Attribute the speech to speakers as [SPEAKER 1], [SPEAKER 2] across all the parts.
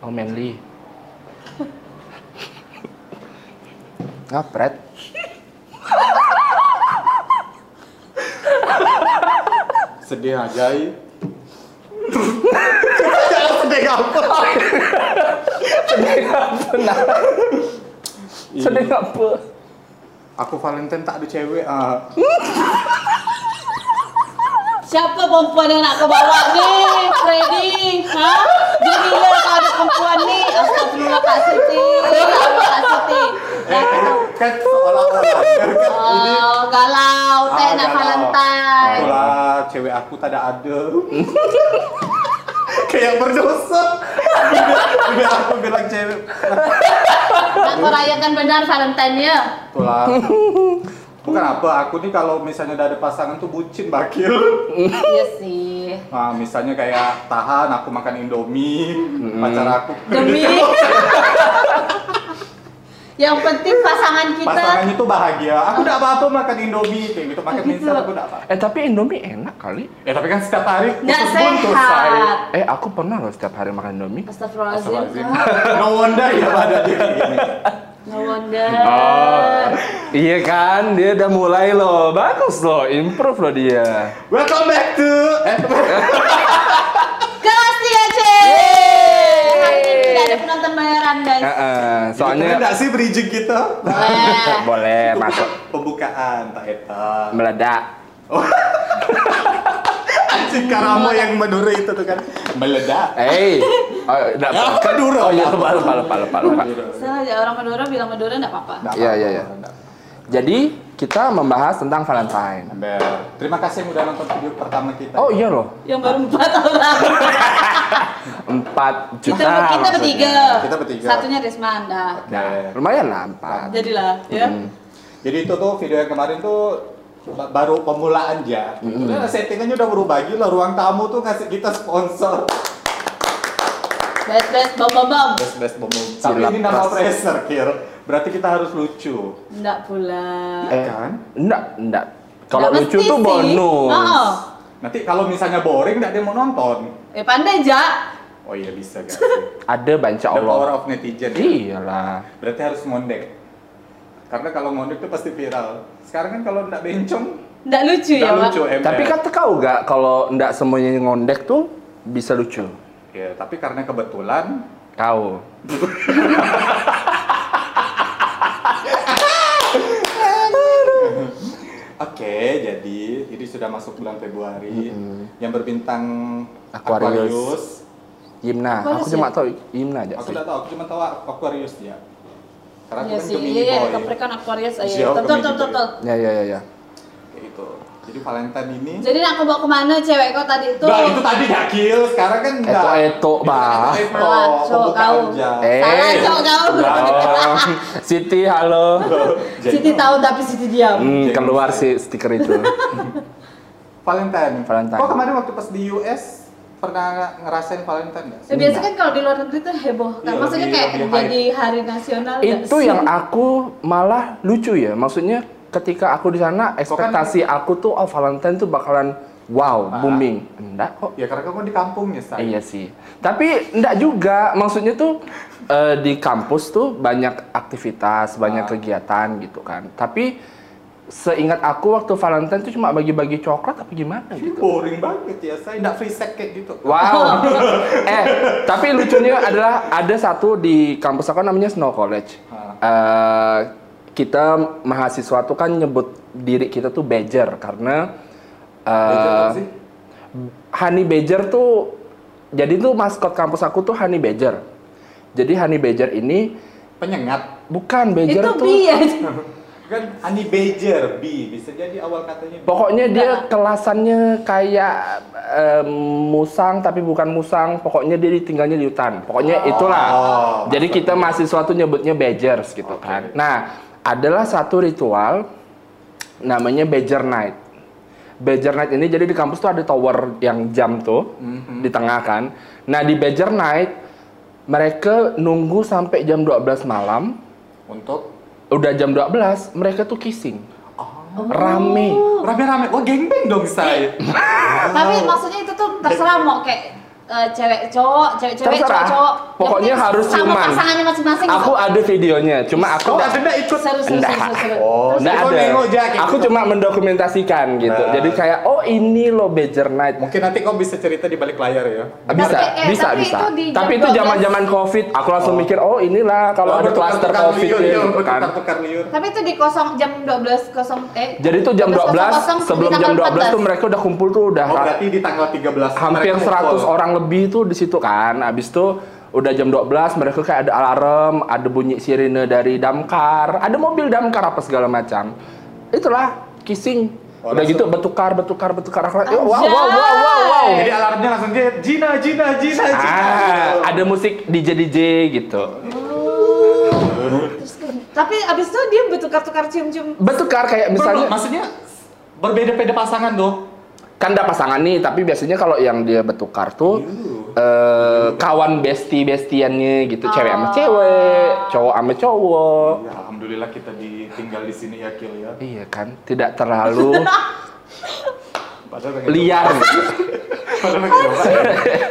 [SPEAKER 1] Oh, Ngapret.
[SPEAKER 2] Sedih aja ya.
[SPEAKER 1] Sedih apa? Sedih apa? Nah. Sedih apa?
[SPEAKER 2] Aku Valentine tak ada cewek ah.
[SPEAKER 3] Siapa perempuan yang nak kau bawa ni? Freddy, ha? Jadinya kau ada perempuan ni. Astagfirullah Kak Siti. Astagfirullah Kak Siti.
[SPEAKER 2] Eh, kan seolah-olah kan ini
[SPEAKER 3] Oh, galau. Tak
[SPEAKER 2] Ah,
[SPEAKER 3] nak
[SPEAKER 2] galau.
[SPEAKER 3] Valentine.
[SPEAKER 2] Itulah cewek aku tak ada ada. Kayak berdosa. Udah aku bilang cewek. Ah.
[SPEAKER 3] Nak kau rayakan benar Valentine ya?
[SPEAKER 2] Itulah. Bukan apa, aku nih kalau misalnya udah ada pasangan tuh bucin bakil.
[SPEAKER 3] Iya sih.
[SPEAKER 2] Nah, misalnya kayak tahan aku makan Indomie, pacar aku
[SPEAKER 3] Demi. Yang penting pasangan kita.
[SPEAKER 2] pasangannya tuh bahagia. Aku udah apa-apa makan Indomie, kayak gitu makan minsel aku udah apa.
[SPEAKER 1] Eh tapi Indomie enak kali.
[SPEAKER 2] Ya tapi kan setiap hari
[SPEAKER 3] Nggak
[SPEAKER 2] usus buntu, say.
[SPEAKER 3] sehat.
[SPEAKER 1] Eh aku pernah loh setiap hari makan Indomie.
[SPEAKER 3] Astagfirullahaladzim.
[SPEAKER 2] Astagfirullahaladzim. No wonder ya pada diri ini.
[SPEAKER 3] No wonder.
[SPEAKER 2] Ah.
[SPEAKER 1] iya kan, dia udah mulai loh, bagus loh, improve loh dia.
[SPEAKER 2] Welcome back to eh,
[SPEAKER 3] Kelas 3 C. Hari ini tidak ada penonton bayaran guys.
[SPEAKER 1] Eh, eh,
[SPEAKER 2] Keren
[SPEAKER 1] soalnya Eh,
[SPEAKER 2] nggak sih bridging kita?
[SPEAKER 3] Wah.
[SPEAKER 1] boleh masuk
[SPEAKER 2] Pembukaan tak eta.
[SPEAKER 1] meledak.
[SPEAKER 2] Anjing karamo yang Madura itu tuh kan meledak.
[SPEAKER 1] Eh, oh, enggak
[SPEAKER 2] Ya, Madura.
[SPEAKER 1] Oh iya, lupa lupa lupa lupa. lupa.
[SPEAKER 3] Salah aja orang Madura bilang Madura enggak apa-apa.
[SPEAKER 2] Nggak
[SPEAKER 1] Iya,
[SPEAKER 2] apa-apa,
[SPEAKER 1] iya, iya.
[SPEAKER 2] nggak apa-apa.
[SPEAKER 1] Jadi kita membahas tentang Valentine.
[SPEAKER 2] Amber, terima kasih yang udah nonton video pertama kita.
[SPEAKER 1] Oh iya loh,
[SPEAKER 3] Yang baru empat orang.
[SPEAKER 1] empat
[SPEAKER 3] kita
[SPEAKER 1] juta.
[SPEAKER 3] kita
[SPEAKER 1] maksudnya.
[SPEAKER 3] bertiga.
[SPEAKER 2] Kita bertiga.
[SPEAKER 3] Satunya Risma Anda.
[SPEAKER 1] Nah, lumayan lah empat.
[SPEAKER 3] Jadilah ya.
[SPEAKER 2] Jadi itu tuh video yang kemarin tuh ba- baru pemulaan ya. Karena settingannya udah berubah gila. Ruang tamu tuh ngasih kita sponsor.
[SPEAKER 3] Best best bom bom bom.
[SPEAKER 2] Best best bom bom. Tapi
[SPEAKER 1] Silap
[SPEAKER 2] ini nama
[SPEAKER 1] keras.
[SPEAKER 2] pressure, Kir. Berarti kita harus lucu.
[SPEAKER 3] Enggak pula.
[SPEAKER 1] Eh,
[SPEAKER 2] Kan?
[SPEAKER 1] Enggak, enggak. Kalau
[SPEAKER 3] Nggak
[SPEAKER 1] lucu
[SPEAKER 3] mesti
[SPEAKER 1] tuh
[SPEAKER 3] sih.
[SPEAKER 1] bonus.
[SPEAKER 3] Oh.
[SPEAKER 2] Nanti kalau misalnya boring nggak ada yang mau nonton.
[SPEAKER 3] Eh pandai ja.
[SPEAKER 2] Oh iya bisa guys.
[SPEAKER 1] Ada banca
[SPEAKER 2] The
[SPEAKER 1] Ya Allah. Iya.
[SPEAKER 2] power of netizen.
[SPEAKER 1] Iyalah.
[SPEAKER 2] Berarti harus ngondek. Karena kalau ngondek tuh pasti viral. Sekarang kan kalau nggak bencong,
[SPEAKER 3] Enggak lucu
[SPEAKER 2] nggak
[SPEAKER 3] ya, Pak.
[SPEAKER 2] lucu ML.
[SPEAKER 1] Iya, Tapi kan- kata kau gak kalau ndak semuanya ngondek tuh bisa lucu.
[SPEAKER 2] Ya, tapi karena kebetulan
[SPEAKER 1] Kau.
[SPEAKER 2] Oke, jadi ini sudah masuk bulan Februari yang berbintang
[SPEAKER 1] Aquarius.
[SPEAKER 2] Aquarius.
[SPEAKER 1] Yimna,
[SPEAKER 3] Aku
[SPEAKER 1] aku
[SPEAKER 3] harus
[SPEAKER 1] cuma
[SPEAKER 3] ya?
[SPEAKER 1] tahu Yimna aja
[SPEAKER 2] Aku
[SPEAKER 1] sih.
[SPEAKER 2] tidak tahu, aku cuma tahu Aquarius dia. Karena aku
[SPEAKER 3] Iya
[SPEAKER 2] kan
[SPEAKER 3] sih,
[SPEAKER 2] Gemini
[SPEAKER 3] iya iya,
[SPEAKER 2] boy.
[SPEAKER 3] Capricorn Aquarius
[SPEAKER 2] Jauh
[SPEAKER 3] aja. Betul
[SPEAKER 2] Gemini
[SPEAKER 3] betul
[SPEAKER 2] boy.
[SPEAKER 3] betul.
[SPEAKER 1] Ya ya ya ya.
[SPEAKER 2] Kayak gitu. Jadi Valentine ini.
[SPEAKER 3] Jadi nak aku bawa kemana cewek kau tadi itu?
[SPEAKER 2] Nah, itu tadi gak kill, sekarang kan enggak.
[SPEAKER 1] Eto-eto, bah.
[SPEAKER 2] Eto,
[SPEAKER 3] Malah, cowok
[SPEAKER 2] pembukaan
[SPEAKER 3] kau.
[SPEAKER 2] aja.
[SPEAKER 1] Eh.
[SPEAKER 3] Salah cowok kau.
[SPEAKER 2] Ah.
[SPEAKER 1] Oh, Siti halo.
[SPEAKER 2] Jadi,
[SPEAKER 3] Siti tahu tapi Siti diam.
[SPEAKER 1] Hmm, keluar sih stiker itu.
[SPEAKER 2] Valentine.
[SPEAKER 1] Valentine.
[SPEAKER 2] Kok kemarin waktu pas di US pernah ngerasain Valentine enggak?
[SPEAKER 1] Iya.
[SPEAKER 3] Ya, biasa kan kalau di luar negeri tuh heboh kan.
[SPEAKER 2] Iya,
[SPEAKER 3] Maksudnya
[SPEAKER 2] lebih-
[SPEAKER 3] kayak
[SPEAKER 2] lebih hype.
[SPEAKER 3] jadi hari nasional nggak
[SPEAKER 1] itu
[SPEAKER 3] sih?
[SPEAKER 1] yang aku malah lucu ya. Maksudnya ketika aku di sana
[SPEAKER 2] kan
[SPEAKER 1] ekspektasi aku tuh oh Valentine tuh bakalan wow,
[SPEAKER 2] Ah.
[SPEAKER 1] booming. Enggak kok.
[SPEAKER 2] Ya karena kamu di kampungnya, Shay.
[SPEAKER 1] Iya sih. Tapi enggak juga. Maksudnya tuh eh, di kampus tuh banyak aktivitas, banyak
[SPEAKER 2] Ah.
[SPEAKER 1] kegiatan gitu kan. Tapi seingat aku waktu Valentine tuh cuma bagi-bagi coklat apa gimana
[SPEAKER 2] Ini
[SPEAKER 1] gitu.
[SPEAKER 2] boring banget ya, saya nggak free sex kayak gitu.
[SPEAKER 1] Wow. eh, tapi lucunya adalah ada satu di kampus aku namanya Snow College.
[SPEAKER 2] Ah.
[SPEAKER 1] Eh, kita mahasiswa tuh kan nyebut diri kita tuh badger karena eh,
[SPEAKER 2] Itu apa sih?
[SPEAKER 1] Honey Badger tuh jadi tuh maskot kampus aku tuh Honey Badger. Jadi Honey Badger ini
[SPEAKER 2] Penyengat.
[SPEAKER 1] bukan
[SPEAKER 3] itu
[SPEAKER 1] Badger tuh. Nah.
[SPEAKER 3] bi ya.
[SPEAKER 2] Kan honey badger, bee. Bisa jadi awal katanya. bee.
[SPEAKER 1] Pokoknya dia
[SPEAKER 3] Enggak.
[SPEAKER 1] kelasannya kayak em, musang tapi bukan musang. Pokoknya dia tinggalnya di hutan. Pokoknya itulah.
[SPEAKER 2] Oh,
[SPEAKER 1] Jadi kita mahasiswa tuh nyebutnya badgers gitu
[SPEAKER 2] Oke.
[SPEAKER 1] kan. Nah, adalah satu ritual namanya badger night. Badger night ini jadi di kampus tuh ada tower yang jam tuh
[SPEAKER 2] Mhm.
[SPEAKER 1] di tengah kan. Nah, di badger night mereka nunggu sampai jam 12 malam.
[SPEAKER 2] Untuk
[SPEAKER 1] Udah jam 12 mereka tuh kissing. Rame.
[SPEAKER 2] Eh, rame-rame. Wah, gengbeng Oh, dong, saya.
[SPEAKER 3] Tapi maksudnya itu tuh terserah mau kayak eh, cewek cowok, cewek cewek,
[SPEAKER 1] Terserah.
[SPEAKER 3] cowok cowok.
[SPEAKER 1] Pokoknya harus
[SPEAKER 3] sama
[SPEAKER 1] ciuman.
[SPEAKER 3] pasangannya masing-masing.
[SPEAKER 1] Aku ada videonya, cuma aku
[SPEAKER 2] Oh,
[SPEAKER 1] nggak-
[SPEAKER 2] ada ikut.
[SPEAKER 3] seru seru
[SPEAKER 1] Enggak.
[SPEAKER 3] seru seru.
[SPEAKER 2] Oh,
[SPEAKER 1] nggak ada.
[SPEAKER 2] Terus kau nengok aja kayak
[SPEAKER 1] Aku
[SPEAKER 2] gitu.
[SPEAKER 1] cuma mendokumentasikan gitu.
[SPEAKER 2] Nah.
[SPEAKER 1] Jadi kayak oh ini loh Badger Night.
[SPEAKER 2] Mungkin nanti kau bisa cerita di balik layar ya.
[SPEAKER 1] Ah, Bisa,
[SPEAKER 3] Tapi, eh,
[SPEAKER 1] bisa,
[SPEAKER 3] tapi
[SPEAKER 1] bisa.
[SPEAKER 3] itu di jam
[SPEAKER 1] tapi itu
[SPEAKER 3] 12.
[SPEAKER 1] zaman-zaman Covid, aku langsung
[SPEAKER 2] Oh.
[SPEAKER 1] mikir oh inilah kalau ada klaster
[SPEAKER 2] Bertukar-tukar
[SPEAKER 1] Covid ya,
[SPEAKER 2] liur, liur,
[SPEAKER 1] gitu kan.
[SPEAKER 2] bertukar-tukar liur.
[SPEAKER 3] Tapi itu di kosong jam 12 kosong eh.
[SPEAKER 1] Jadi tuh jam 12, sebelum jam 12 tuh mereka udah kumpul tuh udah
[SPEAKER 2] Oh, berarti di tanggal 13
[SPEAKER 1] hampir
[SPEAKER 2] mereka
[SPEAKER 1] 100
[SPEAKER 2] kumpul.
[SPEAKER 1] orang lebih tuh di situ kan. Abis itu udah jam 12 mereka kayak ada alarm, ada bunyi sirine dari damkar, ada mobil damkar apa segala macam. Itulah kissing.
[SPEAKER 2] Oh,
[SPEAKER 1] udah
[SPEAKER 2] langsung. Iya,
[SPEAKER 1] gitu bertukar bertukar bertukar akhlak. Wow wow
[SPEAKER 3] Anjay.
[SPEAKER 1] wow wow wow.
[SPEAKER 2] Eh, Jadi alarmnya langsung dia Jina Jina Jina Jina.
[SPEAKER 1] Ah, ada musik DJ DJ gitu.
[SPEAKER 3] Terus, kan, tapi abis itu dia bertukar-tukar cium-cium.
[SPEAKER 1] Bertukar kayak misalnya
[SPEAKER 2] misalnya maksudnya berbeda-beda pasangan tuh.
[SPEAKER 1] kan ada pasangan nih, tapi biasanya kalau yang dia bertukar tuh
[SPEAKER 2] Yuh.
[SPEAKER 1] eh, kawan bestie bestiannya gitu, cewek sama cewek, cowok sama cowok.
[SPEAKER 2] Ya, alhamdulillah kita ditinggal di sini ya Kil ya.
[SPEAKER 1] Iya kan, tidak terlalu
[SPEAKER 2] Padahal pengen-
[SPEAKER 1] liar.
[SPEAKER 2] Padahal pengen coba.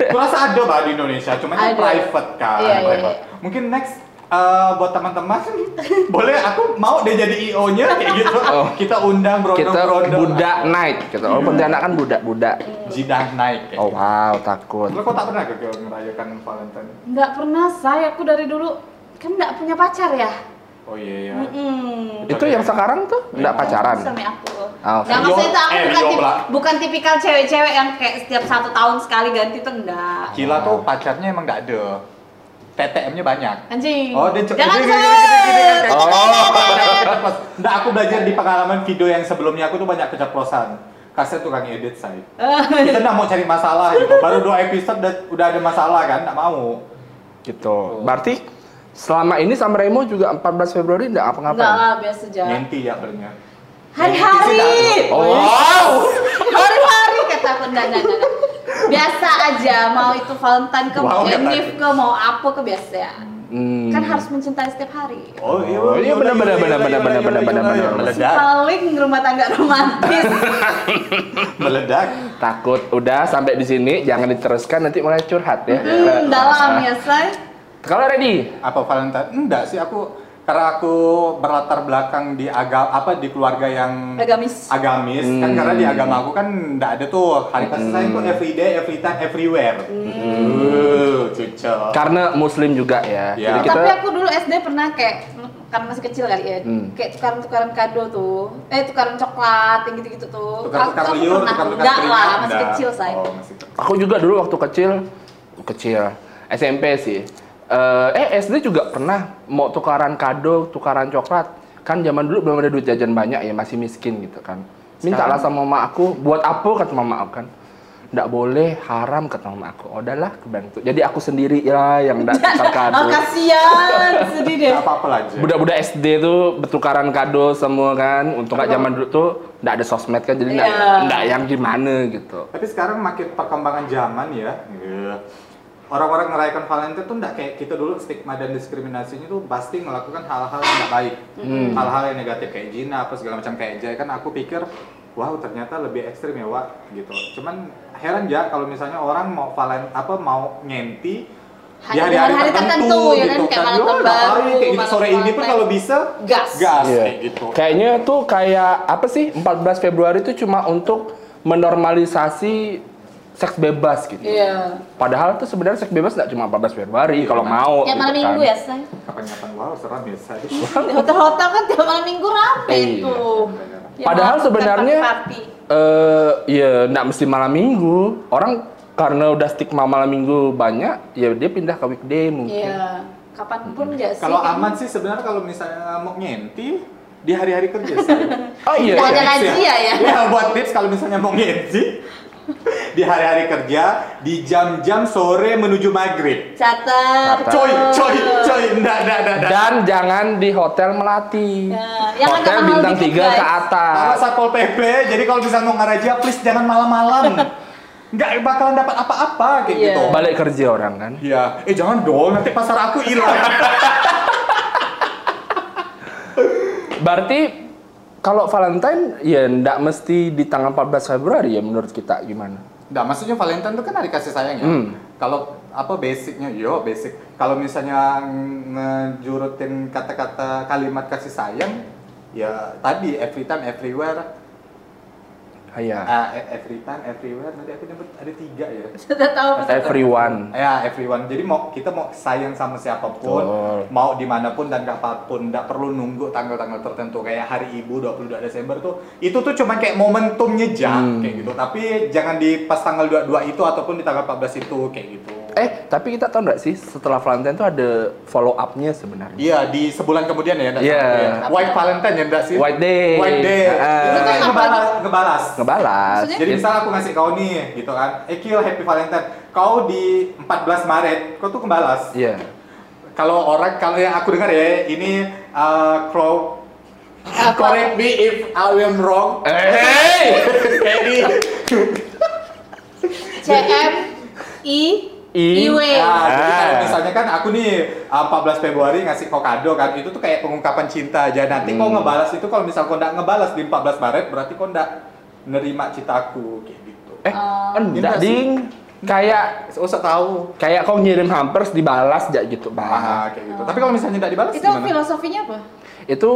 [SPEAKER 2] Kurasa ada bah di Indonesia, cuman kan
[SPEAKER 3] Ada.
[SPEAKER 2] private kan.
[SPEAKER 3] Iya, iya,
[SPEAKER 2] private.
[SPEAKER 3] iya.
[SPEAKER 2] Mungkin next eh, buat teman-teman boleh aku mau deh jadi IO-nya kayak gitu.
[SPEAKER 1] Oh.
[SPEAKER 2] Kita undang
[SPEAKER 1] kita
[SPEAKER 2] berondong-berondong.
[SPEAKER 1] budak naik gitu. Oh, Pontianak kan budak-budak.
[SPEAKER 2] jidah naik. kayak
[SPEAKER 1] Oh
[SPEAKER 2] gitu.
[SPEAKER 1] wow, takut.
[SPEAKER 2] Lo kok tak pernah gagal merayakan Valentine?
[SPEAKER 3] Nggak pernah saya aku dari dulu kan nggak punya pacar ya.
[SPEAKER 2] Oh iya ya.
[SPEAKER 3] Mm-mm.
[SPEAKER 1] Itu yang sekarang tuh enggak pacaran.
[SPEAKER 3] sama aku.
[SPEAKER 1] Ah, oke.
[SPEAKER 3] Nah, maksudnya itu aku
[SPEAKER 2] Eh,
[SPEAKER 3] bukan,
[SPEAKER 2] Rio
[SPEAKER 3] tip-
[SPEAKER 2] pula.
[SPEAKER 3] bukan tipikal cewek-cewek yang kayak setiap satu tahun sekali ganti tuh enggak.
[SPEAKER 2] Kila tuh pacarnya emang gak ada. TTM-nya banyak.
[SPEAKER 3] Anjing.
[SPEAKER 2] Oh, dia
[SPEAKER 3] Jangan
[SPEAKER 2] dia- dia-
[SPEAKER 3] kesana.
[SPEAKER 2] dia- dia- dia- dia-
[SPEAKER 1] Oh.
[SPEAKER 2] Nggak, aku belajar di pengalaman video yang sebelumnya aku tuh banyak keceplosan. Kasih tukang edit saya. Kita nggak mau cari masalah gitu. Baru dua episode udah, udah ada masalah kan, nggak mau.
[SPEAKER 1] Gitu. Berarti selama ini sama Remo juga 14 Februari enggak
[SPEAKER 3] Enggak
[SPEAKER 1] apa-ngapain.
[SPEAKER 3] lah, biasa aja.
[SPEAKER 2] Ngenti ya bernya.
[SPEAKER 3] Hari-hari.
[SPEAKER 1] Oh, wow.
[SPEAKER 3] Hari-hari kata aku enggak, enggak, enggak. enggak. Biasa aja, mau itu Valentine ke,
[SPEAKER 2] Wow,
[SPEAKER 3] mau
[SPEAKER 2] kata
[SPEAKER 3] Enif ke, mau apa ke biasa ya.
[SPEAKER 1] Hmm.
[SPEAKER 3] Kan harus mencintai setiap hari.
[SPEAKER 2] Oh iya,
[SPEAKER 1] Oh, iya, benar, benar, benar, benar, benar, benar, benar, benar.
[SPEAKER 3] Si
[SPEAKER 2] meledak,
[SPEAKER 3] paling rumah tangga romantis.
[SPEAKER 2] meledak.
[SPEAKER 1] Takut. Udah sampai di sini jangan diteruskan nanti mulai curhat ya.
[SPEAKER 3] hmm, dalam ya, say.
[SPEAKER 1] Kalau ready,
[SPEAKER 2] Apa Valentine? Enggak sih, aku karena aku berlatar belakang di agama apa di keluarga yang
[SPEAKER 3] Agamis.
[SPEAKER 2] agamis kan karena di agama aku kan nggak ada tuh hari kasih sayang tuh everyday every time everywhere uh, cucok
[SPEAKER 1] karena muslim juga ya.
[SPEAKER 2] Ya.
[SPEAKER 1] Jadi kita
[SPEAKER 3] Nah, Tapi aku dulu SD pernah kayak karena masih kecil kali ya,
[SPEAKER 1] Hmm.
[SPEAKER 3] kayak tukaran-tukaran kado tuh, eh tukaran coklat yang gitu-gitu tuh.
[SPEAKER 2] tukar-tukar
[SPEAKER 3] Aku- aku
[SPEAKER 2] liur
[SPEAKER 3] pernah.
[SPEAKER 2] tukar-tukar
[SPEAKER 3] Enggak
[SPEAKER 2] keringat,
[SPEAKER 3] lah, masih
[SPEAKER 2] enggak.
[SPEAKER 3] kecil saya.
[SPEAKER 2] oh, masih kecil.
[SPEAKER 1] Aku juga dulu waktu kecil, kecil SMP sih. Eh, eh SD juga pernah mau tukaran kado, tukaran coklat. Kan zaman dulu belum ada duit jajan banyak ya, masih miskin gitu kan. Mintalah sama mama aku, buat apa kata mama aku kan. Nggak boleh, haram kata mama aku. Oh, udahlah kebantu. Jadi aku sendiri lah yang nggak tukar
[SPEAKER 3] Oh,
[SPEAKER 1] kado.
[SPEAKER 3] kasihan, sedih deh.
[SPEAKER 2] Nggak apa-apa lah Jack.
[SPEAKER 1] Budak-budak SD tuh bertukaran kado semua kan. Untuk nggak zaman dulu tuh nggak ada sosmed kan, jadi nggak
[SPEAKER 3] Iya.
[SPEAKER 1] nggak yang gimana gitu.
[SPEAKER 2] tapi sekarang makin perkembangan zaman ya iya. orang-orang merayakan Valentine tuh nggak kayak kita dulu stigma dan diskriminasinya tuh pasti melakukan hal-hal yang nggak baik
[SPEAKER 3] Hmm.
[SPEAKER 2] hal-hal yang negatif kayak jina apa segala macam kayak Jay kan aku pikir wow ternyata lebih ekstrim ya Wak gitu cuman heran ya kalau misalnya orang mau Valentine apa mau ngenti di gitu
[SPEAKER 3] Hanya dengan hari tertentu, ya kan? Kayak malam
[SPEAKER 2] Yo,
[SPEAKER 3] tahun
[SPEAKER 2] nggak apa-apa,
[SPEAKER 3] baru,
[SPEAKER 2] kayak gitu.
[SPEAKER 3] malam
[SPEAKER 2] sore ini pun
[SPEAKER 3] Valentine.
[SPEAKER 2] kalau bisa
[SPEAKER 3] Gas.
[SPEAKER 2] gas
[SPEAKER 1] Iya.
[SPEAKER 2] kayak gitu
[SPEAKER 1] Kayaknya tuh kayak apa sih 14 Februari itu cuma untuk menormalisasi seks bebas gitu.
[SPEAKER 3] Iya.
[SPEAKER 1] Padahal tuh sebenarnya seks bebas nggak cuma 14
[SPEAKER 2] Iya,
[SPEAKER 1] Februari kalau mau.
[SPEAKER 3] Tiap malam
[SPEAKER 1] gitu
[SPEAKER 3] minggu
[SPEAKER 1] kan.
[SPEAKER 3] ya, say.
[SPEAKER 2] kapan-kapan wow seram ya saya
[SPEAKER 3] Di hotel-hotel kan tiap malam minggu rame
[SPEAKER 1] Iya.
[SPEAKER 3] tuh. Ya,
[SPEAKER 1] Padahal
[SPEAKER 3] bukan
[SPEAKER 1] sebenarnya
[SPEAKER 3] party-party.
[SPEAKER 1] eh ya nggak mesti malam minggu. Orang karena udah stigma malam minggu banyak, ya dia pindah ke weekday mungkin.
[SPEAKER 3] Iya. Kapanpun ya sih.
[SPEAKER 2] Hmm. Kalau
[SPEAKER 3] kan.
[SPEAKER 2] aman sih sebenarnya kalau misalnya mau ngenti di hari-hari kerja saya.
[SPEAKER 1] Oh iya.
[SPEAKER 3] Nggak ada
[SPEAKER 1] iya.
[SPEAKER 3] lagi. Razia ya?
[SPEAKER 2] Ya buat tips kalau misalnya mau ngenti di hari-hari kerja di jam-jam sore menuju maghrib.
[SPEAKER 3] Catat.
[SPEAKER 2] Coy,
[SPEAKER 3] Ah.
[SPEAKER 2] coy, coy, ndak, ndak, ndak, ndak.
[SPEAKER 1] Dan jangan di hotel Melati.
[SPEAKER 3] Ya, yang agak
[SPEAKER 1] hotel
[SPEAKER 3] mahal
[SPEAKER 1] bintang
[SPEAKER 3] dikit,
[SPEAKER 1] 3 ke
[SPEAKER 3] guys.
[SPEAKER 2] Kalau
[SPEAKER 1] atas.
[SPEAKER 2] satpol pp, jadi kalau bisa mau ngaraja, please jangan malam-malam. Nggak bakalan dapat apa-apa kayak
[SPEAKER 3] Iya.
[SPEAKER 2] gitu.
[SPEAKER 1] Balik kerja orang kan.
[SPEAKER 2] Iya, eh jangan dong, nanti pasar aku hilang.
[SPEAKER 1] Berarti kalau Valentine ya ndak mesti di tanggal 14 Februari ya menurut kita gimana?
[SPEAKER 2] Nggak, maksudnya Valentine itu kan hari kasih sayang ya.
[SPEAKER 1] Hmm.
[SPEAKER 2] kalau apa basicnya yo basic kalau misalnya ngejurutin kata-kata kalimat kasih sayang ya tadi every time everywhere
[SPEAKER 1] Ah, Iya.
[SPEAKER 2] ah, e- every time everywhere nanti aku nyebut ada tiga ya
[SPEAKER 3] Sudah tahu
[SPEAKER 1] Kata everyone.
[SPEAKER 2] ya everyone jadi mau kita mau sayang sama siapapun
[SPEAKER 1] Betul.
[SPEAKER 2] mau dimanapun dan kapanpun nggak perlu nunggu tanggal-tanggal tertentu kayak hari ibu 22 Desember tuh itu tuh cuman kayak momentumnya aja
[SPEAKER 1] Hmm.
[SPEAKER 2] kayak gitu tapi jangan di pas tanggal 22 itu ataupun di tanggal 14 itu kayak gitu
[SPEAKER 1] Eh, tapi kita tahu nggak sih setelah Valentine tuh ada follow up-nya sebenarnya.
[SPEAKER 2] Iya di sebulan kemudian ya, ndak
[SPEAKER 1] Iya.
[SPEAKER 2] salah ya. White Valentine ya ndak sih?
[SPEAKER 1] White Day.
[SPEAKER 2] White Day.
[SPEAKER 1] Ah.
[SPEAKER 2] Itu kayak
[SPEAKER 3] Itu apa
[SPEAKER 2] ngebalas, ngebalas.
[SPEAKER 1] Iya. Ngebalas.
[SPEAKER 3] Maksudnya?
[SPEAKER 2] Jadi misal aku ngasih kau nih gitu kan, eh Kil Happy Valentine. Kau di 14 Maret, kau tuh ngebalas.
[SPEAKER 1] Iya.
[SPEAKER 2] Kalau orang kalau yang aku dengar ya ini uh, crow
[SPEAKER 3] Apa?
[SPEAKER 2] correct me if I am wrong.
[SPEAKER 1] Eh,
[SPEAKER 2] Kayak di
[SPEAKER 3] CM I
[SPEAKER 1] I.
[SPEAKER 3] IW.
[SPEAKER 2] Nah, jadi
[SPEAKER 1] Ah.
[SPEAKER 2] kalau misalnya kan aku nih uh, 14 Februari ngasih kau kado kan, itu tuh kayak pengungkapan cinta aja. Nanti
[SPEAKER 1] Hmm.
[SPEAKER 2] kau ngebalas itu kalau misal kau nggak ngebalas di 14 Maret, berarti kau nggak nerima cinta aku kayak gitu.
[SPEAKER 1] eh, enggak
[SPEAKER 2] Gimana sih?
[SPEAKER 1] ding. Kayak
[SPEAKER 2] usah tahu.
[SPEAKER 1] kayak kau ngirim hampers dibalas aja gitu bah.
[SPEAKER 2] Ah, kayak gitu. Tapi kalau misalnya nggak dibalas
[SPEAKER 3] Itu
[SPEAKER 2] gimana?
[SPEAKER 3] filosofinya apa?
[SPEAKER 1] Itu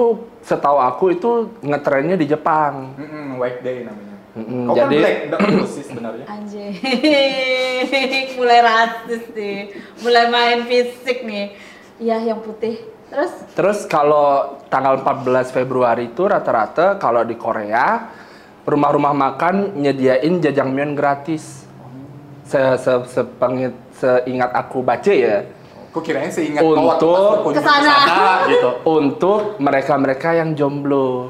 [SPEAKER 1] setahu aku itu ngetrennya di Jepang.
[SPEAKER 2] Mm-mm, white day namanya.
[SPEAKER 1] Mm-mm,
[SPEAKER 2] kau
[SPEAKER 1] jadi-
[SPEAKER 2] kan black, nggak bagus sih sebenarnya.
[SPEAKER 3] Anjir. Mulai rasis nih. Mulai main fisik nih. Iya, yang putih. Terus
[SPEAKER 1] Terus kalau tanggal 14 Februari itu rata-rata kalau di Korea rumah-rumah makan nyediain jajangmyeon gratis. Se -se sepengit- seingat aku baca ya
[SPEAKER 2] Kau kirain seingat
[SPEAKER 1] Untuk-
[SPEAKER 2] waktu pas berkunjung ke
[SPEAKER 3] Kesana.
[SPEAKER 2] sana, gitu.
[SPEAKER 1] untuk mereka-mereka yang jomblo.
[SPEAKER 3] oh,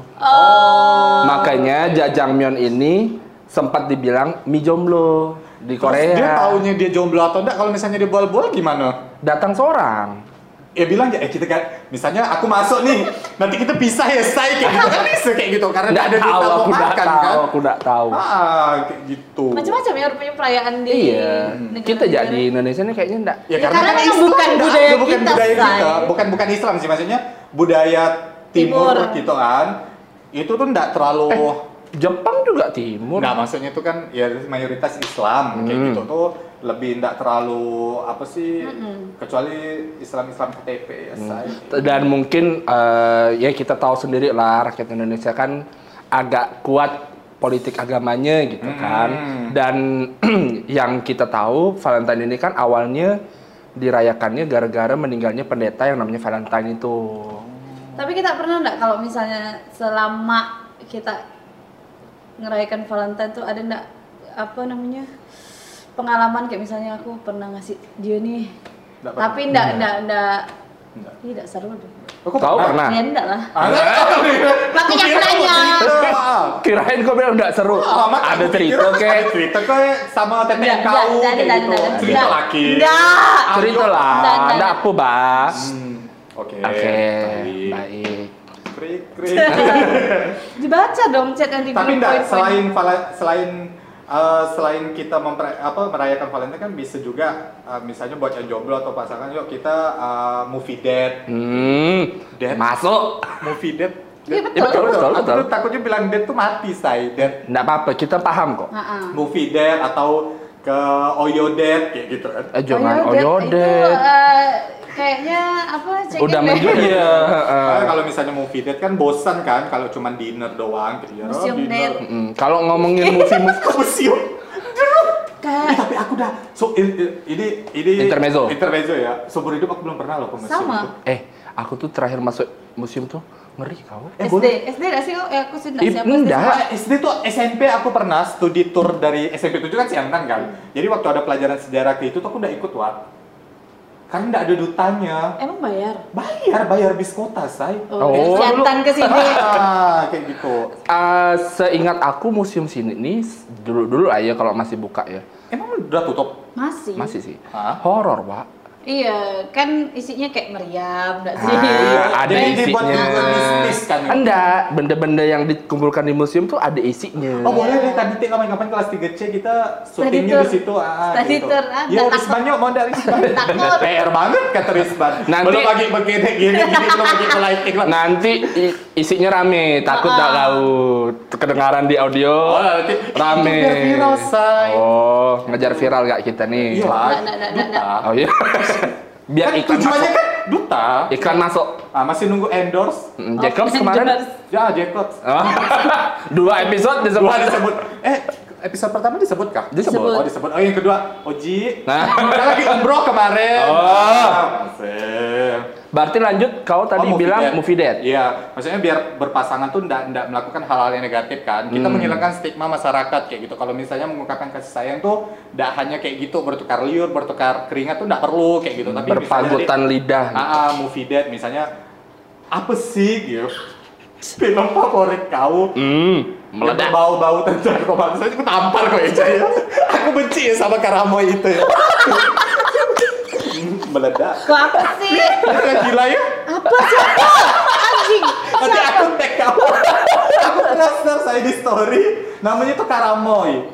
[SPEAKER 1] Makanya jajangmyeon ini sempat dibilang mie jomblo di
[SPEAKER 2] Terus dia
[SPEAKER 1] Korea.
[SPEAKER 2] taunya dia jomblo atau enggak kalau misalnya dia bol-bol gimana?
[SPEAKER 1] Datang seorang.
[SPEAKER 2] ya bilang ya eh kita kan misalnya aku masuk nih nanti kita pisah ya say kayak gitu kan bisa kayak gitu karena
[SPEAKER 1] Nggak
[SPEAKER 2] ada
[SPEAKER 1] tahu,
[SPEAKER 2] duit
[SPEAKER 1] aku
[SPEAKER 2] mau
[SPEAKER 1] nggak
[SPEAKER 2] makan
[SPEAKER 1] tahu,
[SPEAKER 2] kan
[SPEAKER 1] aku nggak tahu.
[SPEAKER 2] ah kayak gitu
[SPEAKER 3] macam-macam ya punya perayaan di
[SPEAKER 1] Iya,
[SPEAKER 3] negara-negara.
[SPEAKER 1] kita jadi Indonesia ini kayaknya enggak.
[SPEAKER 2] ya,
[SPEAKER 3] Ya,
[SPEAKER 2] karena,
[SPEAKER 3] karena
[SPEAKER 2] kan
[SPEAKER 3] memang
[SPEAKER 2] Islam,
[SPEAKER 3] bukan
[SPEAKER 2] kan?
[SPEAKER 3] budaya
[SPEAKER 2] Ya, bukan
[SPEAKER 3] kita,
[SPEAKER 2] budaya kita
[SPEAKER 3] Say.
[SPEAKER 2] bukan bukan Islam sih maksudnya budaya timur,
[SPEAKER 3] Timur.
[SPEAKER 2] gitu kan itu tuh enggak terlalu
[SPEAKER 1] Jepang juga Eh, timur.
[SPEAKER 2] Nah, maksudnya itu kan ya mayoritas Islam kayak
[SPEAKER 1] Hmm.
[SPEAKER 2] gitu tuh lebih enggak terlalu apa sih
[SPEAKER 3] Hmm.
[SPEAKER 2] kecuali Islam-Islam KTP ya say.
[SPEAKER 1] Hmm. Dan mungkin eh, ya kita tahu sendiri lah rakyat Indonesia kan agak kuat politik agamanya gitu kan.
[SPEAKER 2] Hmm.
[SPEAKER 1] Dan yang kita tahu Valentine ini kan awalnya dirayakannya gara-gara meninggalnya pendeta yang namanya Valentine itu.
[SPEAKER 3] Tapi kita pernah nggak kalau misalnya selama kita ngerayakan Valentine tuh ada nggak apa namanya pengalaman kayak misalnya aku pernah ngasih dia nih,
[SPEAKER 2] Nggak pernah.
[SPEAKER 3] tapi nggak nggak nggak
[SPEAKER 2] Nggak.
[SPEAKER 3] Ih, nggak seru deh.
[SPEAKER 2] Kok
[SPEAKER 1] Kau pernah?
[SPEAKER 3] Ya nggak ya. lah.
[SPEAKER 2] Ah, nggak tahu nih.
[SPEAKER 3] Makanya
[SPEAKER 2] Kukira mau
[SPEAKER 3] nanya.
[SPEAKER 2] cerita. Ah.
[SPEAKER 1] Kirain kok bilang enggak seru.
[SPEAKER 2] Alamat
[SPEAKER 1] ada
[SPEAKER 2] aku
[SPEAKER 1] cerita
[SPEAKER 2] pikir,
[SPEAKER 1] kayak
[SPEAKER 2] Ada cerita kayak sama teteh
[SPEAKER 3] Nggak,
[SPEAKER 2] kau
[SPEAKER 3] nggak,
[SPEAKER 2] kayak
[SPEAKER 3] nggak,
[SPEAKER 2] gitu.
[SPEAKER 3] nggak, nggak.
[SPEAKER 2] Cerita
[SPEAKER 3] Nggak.
[SPEAKER 2] laki.
[SPEAKER 3] Nggak.
[SPEAKER 1] cerita lah.
[SPEAKER 3] Nggak, nggak,
[SPEAKER 1] Enggak
[SPEAKER 3] nggak.
[SPEAKER 1] apa, Bah.
[SPEAKER 2] Hmm, Oke.
[SPEAKER 1] Oke,
[SPEAKER 2] baik.
[SPEAKER 1] baik.
[SPEAKER 2] Krik, krik.
[SPEAKER 3] Dibaca dong chat yang di
[SPEAKER 2] Tapi
[SPEAKER 3] grup
[SPEAKER 2] enggak
[SPEAKER 3] poin-poin.
[SPEAKER 2] selain vala- selain eh, selain kita memper- apa, merayakan Valentine kan bisa juga eh, misalnya buat yang jomblo atau pasangan yuk kita eh, movie date
[SPEAKER 1] Hmm,
[SPEAKER 2] Dan-
[SPEAKER 1] masuk.
[SPEAKER 2] movie date
[SPEAKER 3] Iya,
[SPEAKER 2] Date.
[SPEAKER 3] betul. Iya,
[SPEAKER 1] betul, betul,
[SPEAKER 2] Aku
[SPEAKER 1] betul.
[SPEAKER 2] tuh takutnya bilang date tuh mati say date
[SPEAKER 1] Enggak apa-apa, kita paham kok.
[SPEAKER 3] Ha-ha.
[SPEAKER 2] movie date atau ke oyo date kayak gitu kan
[SPEAKER 1] Eh, jangan
[SPEAKER 3] Oyodet Itu
[SPEAKER 1] oyodet.
[SPEAKER 3] eh, kayaknya apa? chicken
[SPEAKER 1] Udah
[SPEAKER 3] deh.
[SPEAKER 1] menjadi
[SPEAKER 2] Iya.
[SPEAKER 1] ya.
[SPEAKER 2] Karena kalau misalnya movie date kan bosan kan kalau cuma dinner doang gitu ya.
[SPEAKER 3] Museum
[SPEAKER 2] dinner.
[SPEAKER 3] date.
[SPEAKER 1] Mm, Kalau
[SPEAKER 2] Iya.
[SPEAKER 1] ngomongin movie movie
[SPEAKER 2] Museum. Eh,
[SPEAKER 3] Kayak
[SPEAKER 2] tapi aku dah so i- i- ini ini
[SPEAKER 1] Intermezzo.
[SPEAKER 2] Intermezzo ya. Seumur hidup aku belum pernah loh ke museum.
[SPEAKER 3] Sama.
[SPEAKER 2] itu.
[SPEAKER 1] eh aku tuh terakhir masuk museum tuh ngeri kau.
[SPEAKER 2] Eh,
[SPEAKER 3] SD,
[SPEAKER 2] boleh.
[SPEAKER 3] SD gak sih? Eh, aku sudah
[SPEAKER 1] Ih,
[SPEAKER 3] siapa?
[SPEAKER 1] enggak.
[SPEAKER 2] Ah, SD tuh SMP aku pernah studi tour dari SMP 7 kan Siantan kan. Jadi waktu ada pelajaran sejarah ke itu tuh aku udah ikut Wak. Karena enggak ada dutanya.
[SPEAKER 3] Emang bayar?
[SPEAKER 2] Bayar bayar bis kota, say.
[SPEAKER 3] Oh,
[SPEAKER 1] Oh,
[SPEAKER 3] oh jantan ke sini.
[SPEAKER 2] Ah, kayak gitu.
[SPEAKER 1] Ah, seingat aku museum sini nih s- dulu dulu aja kalau masih buka ya
[SPEAKER 2] Emang udah tutup?
[SPEAKER 3] Masih.
[SPEAKER 1] masih sih
[SPEAKER 2] Hah?
[SPEAKER 1] horor pak
[SPEAKER 3] Iya, kan isinya kayak meriam, enggak sih?
[SPEAKER 2] Iya,
[SPEAKER 1] Ah, ada
[SPEAKER 2] Jadi dibuat
[SPEAKER 1] isinya.
[SPEAKER 2] untuk bisnis kan ya?
[SPEAKER 1] Enggak, benda-benda yang dikumpulkan di museum tuh ada isinya.
[SPEAKER 2] Oh boleh deh tadi Tik, kapan-kapan kelas 3C kita syutingnya
[SPEAKER 3] tour.
[SPEAKER 2] di situ ah,
[SPEAKER 3] Study
[SPEAKER 2] gitu.
[SPEAKER 3] tour, ah,
[SPEAKER 2] Yo,
[SPEAKER 3] nggak
[SPEAKER 2] Risban yuk mau dari Risban.
[SPEAKER 3] Takut.
[SPEAKER 2] PR banget kata Risban.
[SPEAKER 1] Nanti-
[SPEAKER 2] belum lagi begini gini gini belum lagi mulai iklan.
[SPEAKER 1] Nanti i- isinya rame, takut
[SPEAKER 3] Ah.
[SPEAKER 1] tak laut. Kedengaran di audio
[SPEAKER 2] Oh, nanti
[SPEAKER 1] rame.
[SPEAKER 2] Biar viral, say.
[SPEAKER 1] Oh, ngejar viral gak kita nih?
[SPEAKER 2] Iya lah.
[SPEAKER 3] Nggak, nggak, nggak, nggak,
[SPEAKER 2] Duta.
[SPEAKER 1] Oh iya.
[SPEAKER 2] Kan
[SPEAKER 1] Biar iklan
[SPEAKER 2] tujuannya
[SPEAKER 1] masuk.
[SPEAKER 2] kan duta.
[SPEAKER 1] Iklan masuk.
[SPEAKER 2] Ah, masih nunggu endorse.
[SPEAKER 1] Mm, Jacobs kemarin.
[SPEAKER 2] Ya, Jacobs.
[SPEAKER 1] Oh. Dua episode disebut.
[SPEAKER 2] Dua disebut. Eh, episode pertama disebut kah?
[SPEAKER 1] Disebut.
[SPEAKER 2] Oh, disebut. Oh, yang kedua, Oji.
[SPEAKER 1] Nah.
[SPEAKER 2] Kita lagi umroh kemarin.
[SPEAKER 1] Oh.
[SPEAKER 2] Ah, masih.
[SPEAKER 1] Berarti lanjut kau tadi
[SPEAKER 2] Oh,
[SPEAKER 1] bilang movie date.
[SPEAKER 2] Iya, maksudnya biar berpasangan tuh ndak ndak melakukan hal-hal yang negatif kan.
[SPEAKER 1] Hmm.
[SPEAKER 2] Kita menghilangkan stigma masyarakat kayak gitu. Kalau misalnya mengungkapkan kasih sayang tuh ndak hanya kayak gitu bertukar liur, bertukar keringat tuh ndak perlu kayak gitu. Tapi
[SPEAKER 1] Berpagutan
[SPEAKER 2] misalnya
[SPEAKER 1] lidah.
[SPEAKER 2] di- Ah, ah, movie date misalnya apa sih gitu? Film favorit kau?
[SPEAKER 1] Hmm,
[SPEAKER 2] Meledak.
[SPEAKER 1] meledak.
[SPEAKER 2] Bau-bau tentang romantis aku tampar kok Eca ya. Aku benci ya sama Karamoy itu ya. Hmm, meledak.
[SPEAKER 3] Kok apa sih?
[SPEAKER 2] Gila ya.
[SPEAKER 3] Apa sih? Apa? Anjing.
[SPEAKER 2] Nanti aku tag kamu. aku pernah share saya di story. Namanya tuh Karamoy.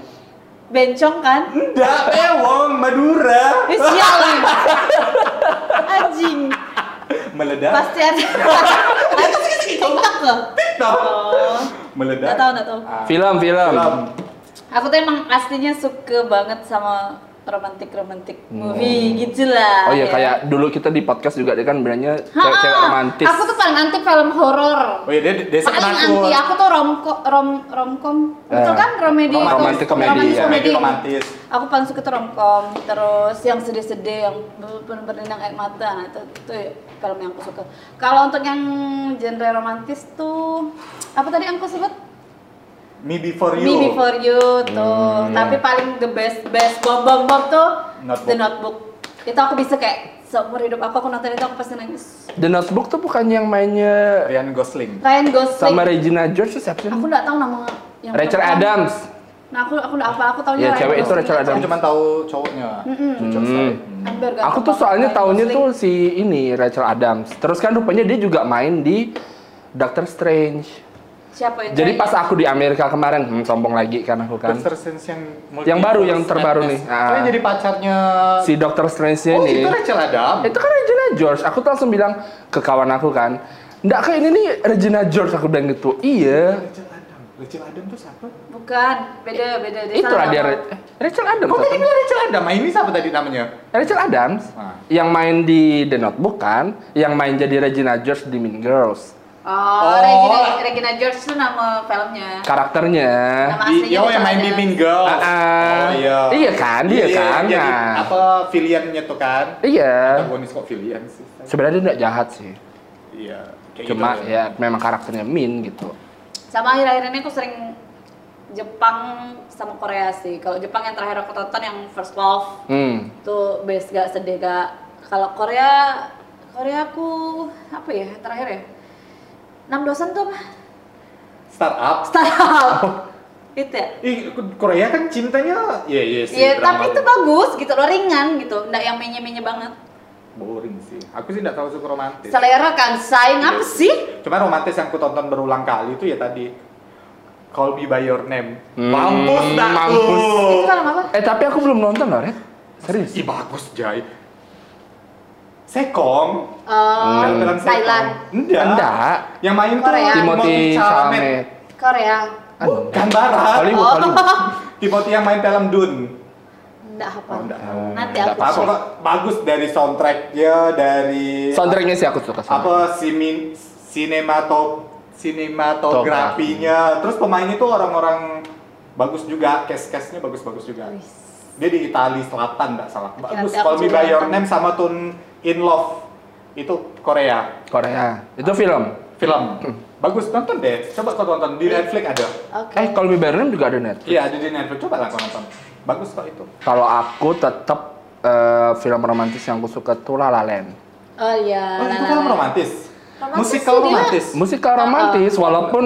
[SPEAKER 3] Bencong kan?
[SPEAKER 2] Enggak, Pewong, Madura.
[SPEAKER 3] Eh, sialan. Anjing.
[SPEAKER 2] Meledak.
[SPEAKER 3] Pasti ada. Ada TikTok loh.
[SPEAKER 2] TikTok.
[SPEAKER 3] Oh.
[SPEAKER 2] Meledak.
[SPEAKER 3] Nggak tahu, nggak tahu.
[SPEAKER 2] Ah,
[SPEAKER 1] Film, film.
[SPEAKER 3] Aku tuh emang aslinya suka banget sama romantic romantic movie gitu lah.
[SPEAKER 1] Hmm. Oh iya
[SPEAKER 3] ya.
[SPEAKER 1] kayak dulu kita di podcast juga dia kan bilangnya
[SPEAKER 3] Ha-ha.
[SPEAKER 1] cewek-cewek romantis.
[SPEAKER 3] Aku tuh paling anti film horor.
[SPEAKER 2] Oh iya, dia, dia
[SPEAKER 3] Paling
[SPEAKER 2] sepenakut.
[SPEAKER 3] anti aku tuh romko, rom romcom. Betul
[SPEAKER 1] Eh,
[SPEAKER 3] kan romedi
[SPEAKER 1] romantis
[SPEAKER 3] romantis
[SPEAKER 1] komedi,
[SPEAKER 3] romantis
[SPEAKER 1] ya.
[SPEAKER 3] komedi.
[SPEAKER 2] Romantis.
[SPEAKER 3] Aku paling suka tuh romcom, terus yang sedih-sedih yang berendang air mata. Nah, itu, itu film yang aku suka. Kalau untuk yang genre romantis tuh apa tadi yang aku sebut?
[SPEAKER 2] Me Before You.
[SPEAKER 3] Me Before You tuh.
[SPEAKER 1] Hmm, iya.
[SPEAKER 3] Tapi paling the best best bom bom bom tuh
[SPEAKER 2] Notebook.
[SPEAKER 3] The Notebook. Itu aku bisa kayak seumur hidup aku aku nonton itu aku pasti nangis.
[SPEAKER 1] The Notebook tuh bukan yang mainnya
[SPEAKER 2] Ryan Gosling.
[SPEAKER 3] Ryan Gosling.
[SPEAKER 1] sama Regina George tuh siapa sih?
[SPEAKER 3] Aku nggak tahu nama yang
[SPEAKER 1] Rachel
[SPEAKER 3] perempuan.
[SPEAKER 1] Adams.
[SPEAKER 3] Nah aku aku nggak apa aku tahunya
[SPEAKER 1] Ya,
[SPEAKER 3] Ryan
[SPEAKER 1] cewek itu
[SPEAKER 3] Gosling
[SPEAKER 1] Rachel
[SPEAKER 2] Aku
[SPEAKER 1] Adams.
[SPEAKER 2] cuma tahu cowoknya. Cocok sekali.
[SPEAKER 3] Amber ganteng
[SPEAKER 1] Aku tuh
[SPEAKER 3] banget
[SPEAKER 1] soalnya
[SPEAKER 3] Ryan
[SPEAKER 1] tahunnya
[SPEAKER 3] Gosling.
[SPEAKER 1] tuh si ini Rachel Adams. Terus kan rupanya dia juga main di Doctor Strange.
[SPEAKER 3] siapa itu?
[SPEAKER 1] Jadi pas aku di Amerika kemarin, hmm, sombong lagi kan aku kan.
[SPEAKER 2] Doctor Strange yang
[SPEAKER 1] Yang baru, yang
[SPEAKER 2] multiverse
[SPEAKER 1] terbaru
[SPEAKER 2] madness.
[SPEAKER 1] nih. Ah.
[SPEAKER 2] Tapi jadi pacarnya
[SPEAKER 1] Si Doctor Strange
[SPEAKER 2] Oh,
[SPEAKER 1] ini.
[SPEAKER 2] itu Rachel Adam.
[SPEAKER 1] itu kan Regina George. Aku tuh langsung bilang ke kawan aku kan, ndak kayak ini nih Regina George aku bilang gitu. Iya.
[SPEAKER 2] Rachel Adam. Rachel Adam tuh siapa?
[SPEAKER 3] bukan beda beda dia
[SPEAKER 1] Itulah
[SPEAKER 3] salah
[SPEAKER 1] dia
[SPEAKER 3] nama.
[SPEAKER 1] Re- eh, Rachel Adams.
[SPEAKER 2] Kok tadi
[SPEAKER 1] apa?
[SPEAKER 2] bilang Rachel Adam? Ah, Ini siapa tadi namanya?
[SPEAKER 1] Rachel Adams
[SPEAKER 2] Ah.
[SPEAKER 1] yang main di The Notebook kan, yang main jadi Regina George di Mean Girls.
[SPEAKER 3] Oh,
[SPEAKER 2] Oh.
[SPEAKER 3] Regina, Regina George tuh nama filmnya.
[SPEAKER 1] Karakternya.
[SPEAKER 3] Nama
[SPEAKER 2] Di,
[SPEAKER 3] aslinya
[SPEAKER 2] yo
[SPEAKER 3] Rachel
[SPEAKER 2] yang main di
[SPEAKER 3] Adams.
[SPEAKER 2] Mean Girls.
[SPEAKER 1] Ah, ah.
[SPEAKER 2] Oh iya.
[SPEAKER 1] Iya kan, dia kan,
[SPEAKER 2] Jadi,
[SPEAKER 1] nah.
[SPEAKER 2] apa filiannya tuh kan?
[SPEAKER 1] Iya.
[SPEAKER 2] Antagonis kok filian sih?
[SPEAKER 1] Sebenarnya dia nggak jahat sih.
[SPEAKER 2] Iya. kayak
[SPEAKER 1] Cuma
[SPEAKER 2] gitu.
[SPEAKER 1] ya memang karakternya Mean gitu.
[SPEAKER 3] Sama akhir-akhir ini aku sering Jepang sama Korea sih. Kalau Jepang yang terakhir aku tonton yang First Love
[SPEAKER 1] Hmm.
[SPEAKER 3] tuh best gak sedih gak. Kalau Korea Korea aku apa ya terakhir ya? 6 dosen tuh apa?
[SPEAKER 2] Startup. Oh.
[SPEAKER 3] Startup. itu ya.
[SPEAKER 2] Ih, Korea kan cintanya ya iya sih.
[SPEAKER 3] Iya,
[SPEAKER 2] drama.
[SPEAKER 3] tapi itu bagus gitu loh, ringan gitu, nggak yang menye-menye banget.
[SPEAKER 2] boring sih. Aku sih enggak tahu suka romantis.
[SPEAKER 3] Selera kan, saing apa
[SPEAKER 2] Iya.
[SPEAKER 3] sih?
[SPEAKER 2] Cuma romantis yang aku tonton berulang kali itu ya tadi Call Me By Your Name.
[SPEAKER 1] Hmm,
[SPEAKER 2] mampus dah uh.
[SPEAKER 1] mampus.
[SPEAKER 2] tuh.
[SPEAKER 3] Itu kan film apa?
[SPEAKER 1] Eh tapi aku belum nonton loh, Red. Serius.
[SPEAKER 2] Ih bagus Jai. Sekong.
[SPEAKER 3] Eh,
[SPEAKER 2] Film-film Sekong.
[SPEAKER 3] Thailand,
[SPEAKER 2] Enggak.
[SPEAKER 1] Enggak.
[SPEAKER 2] Yang main tuh
[SPEAKER 3] Korea.
[SPEAKER 1] Timothy
[SPEAKER 2] Chalamet.
[SPEAKER 1] Chalamet.
[SPEAKER 3] Korea. Oh,
[SPEAKER 1] Aduh.
[SPEAKER 2] Bukan barat.
[SPEAKER 1] Hollywood, Hollywood.
[SPEAKER 2] Timothy yang main film Dune.
[SPEAKER 3] Nggak apa?
[SPEAKER 2] Oh, nggak tahu.
[SPEAKER 3] Nanti
[SPEAKER 1] Nggak
[SPEAKER 3] aku
[SPEAKER 2] Apa
[SPEAKER 1] apa-apa.
[SPEAKER 3] cek.
[SPEAKER 2] kok bagus dari soundtracknya dari
[SPEAKER 1] Soundtracknya sih aku suka sama.
[SPEAKER 2] apa simin sinemato sinematografinya terus pemainnya tuh orang-orang bagus juga cast-castnya bagus-bagus juga
[SPEAKER 3] Wis.
[SPEAKER 2] dia di Italia Selatan nggak salah
[SPEAKER 3] Oke,
[SPEAKER 2] bagus
[SPEAKER 3] nanti aku
[SPEAKER 2] Call Me
[SPEAKER 3] coba
[SPEAKER 2] By Your
[SPEAKER 3] nonton.
[SPEAKER 2] Name sama Tune In Love itu Korea
[SPEAKER 1] Korea. Itu film.
[SPEAKER 2] film
[SPEAKER 1] Hmm.
[SPEAKER 2] bagus nonton deh coba kau tonton di Netflix ada
[SPEAKER 3] Oke.
[SPEAKER 1] Eh Call Me By Your Name juga ada Netflix.
[SPEAKER 2] iya ada di Netflix coba lah kau nonton bagus kok itu
[SPEAKER 1] Kalau aku tetap eh, film romantis yang aku suka tuh La La Land.
[SPEAKER 3] Oh iya.
[SPEAKER 2] oh itu
[SPEAKER 3] La La
[SPEAKER 2] film
[SPEAKER 3] Land.
[SPEAKER 2] romantis
[SPEAKER 3] Romantis
[SPEAKER 2] musikal
[SPEAKER 3] sih dia.
[SPEAKER 2] romantis
[SPEAKER 1] Musikal
[SPEAKER 2] ah.
[SPEAKER 1] romantis walaupun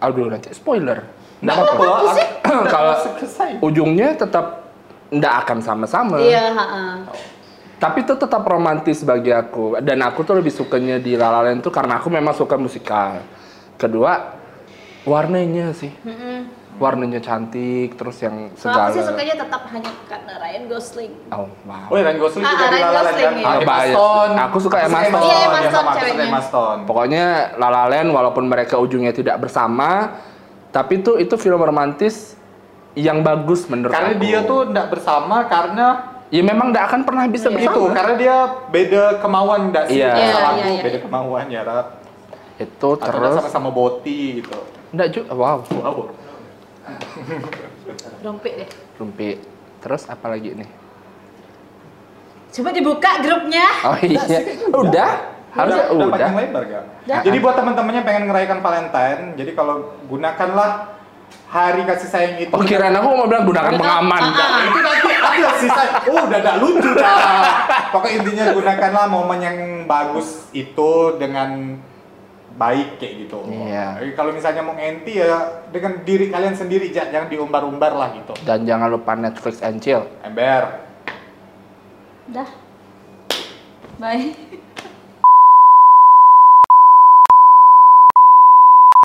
[SPEAKER 1] aduh nanti spoiler. Nggak
[SPEAKER 2] Nggak
[SPEAKER 1] apa-apa.
[SPEAKER 2] apa-apa,
[SPEAKER 3] sih?
[SPEAKER 2] aku-
[SPEAKER 1] Kalau
[SPEAKER 2] selesai. Iya,
[SPEAKER 1] ujungnya tetap ndak akan sama-sama.
[SPEAKER 2] Oh,
[SPEAKER 3] Iya, heeh.
[SPEAKER 1] Tapi itu tetap romantis bagi aku. Dan aku tuh lebih sukanya di La La Land tuh karena aku memang suka musikal. Kedua, warnanya sih.
[SPEAKER 3] Mm-mm.
[SPEAKER 1] Warnanya cantik, terus yang
[SPEAKER 3] Kalau aku sih
[SPEAKER 1] segala.
[SPEAKER 3] sukanya tetap hanya karena Ryan Gosling.
[SPEAKER 1] Oh, wow.
[SPEAKER 2] Oh, Ryan Gosling
[SPEAKER 3] Ah,
[SPEAKER 2] juga di La
[SPEAKER 3] Ryan
[SPEAKER 2] La Land
[SPEAKER 3] Gosling,
[SPEAKER 2] kan?
[SPEAKER 3] iya.
[SPEAKER 2] Ah,
[SPEAKER 1] Nggak bias. Aku suka Emma Stone.
[SPEAKER 3] Iya, Emma
[SPEAKER 2] Dia
[SPEAKER 3] Stone
[SPEAKER 2] sama, aku suka
[SPEAKER 3] ceweknya.
[SPEAKER 2] Emma Stone.
[SPEAKER 1] Pokoknya La La Land walaupun mereka ujungnya tidak bersama, tapi itu itu film romantis yang bagus menurut
[SPEAKER 2] Karena
[SPEAKER 1] aku.
[SPEAKER 2] dia tuh nggak bersama karena
[SPEAKER 1] ya memang tidak akan pernah bisa
[SPEAKER 3] Iya.
[SPEAKER 2] itu,
[SPEAKER 1] bersama.
[SPEAKER 2] karena dia beda kemauan nggak sih?
[SPEAKER 1] Iya.
[SPEAKER 2] Sama
[SPEAKER 3] Iya,
[SPEAKER 2] aku,
[SPEAKER 3] iya, iya.
[SPEAKER 2] beda kemauan ya, Rap.
[SPEAKER 1] Itu
[SPEAKER 2] Atau nggak
[SPEAKER 1] terus
[SPEAKER 2] sama-sama boti gitu.
[SPEAKER 1] enggak juga wow,
[SPEAKER 2] Wow.
[SPEAKER 3] Dompet deh.
[SPEAKER 1] rumpi. Terus apa lagi nih?
[SPEAKER 3] Coba dibuka grupnya.
[SPEAKER 1] Oh iya. Udah? Harusnya udah.
[SPEAKER 2] panjang lebar kan?
[SPEAKER 3] Udah.
[SPEAKER 2] Jadi buat teman-temannya pengen ngerayakan Valentine, jadi kalau gunakanlah hari kasih sayang itu.
[SPEAKER 1] Oh kirain aku mau bilang gunakan
[SPEAKER 3] Gunakan-
[SPEAKER 1] pengaman.
[SPEAKER 3] Ah, ah.
[SPEAKER 2] Itu nanti ada sih sayang. Oh, udah gak lucu dah. Pokoknya intinya gunakanlah momen yang bagus itu dengan baik kayak gitu.
[SPEAKER 1] Iya.
[SPEAKER 2] Jadi Kalau misalnya mau ngenti ya dengan diri kalian sendiri Ja. jangan diumbar-umbar lah gitu.
[SPEAKER 1] Dan jangan lupa Netflix and chill.
[SPEAKER 2] Ember.
[SPEAKER 3] Dah. Bye.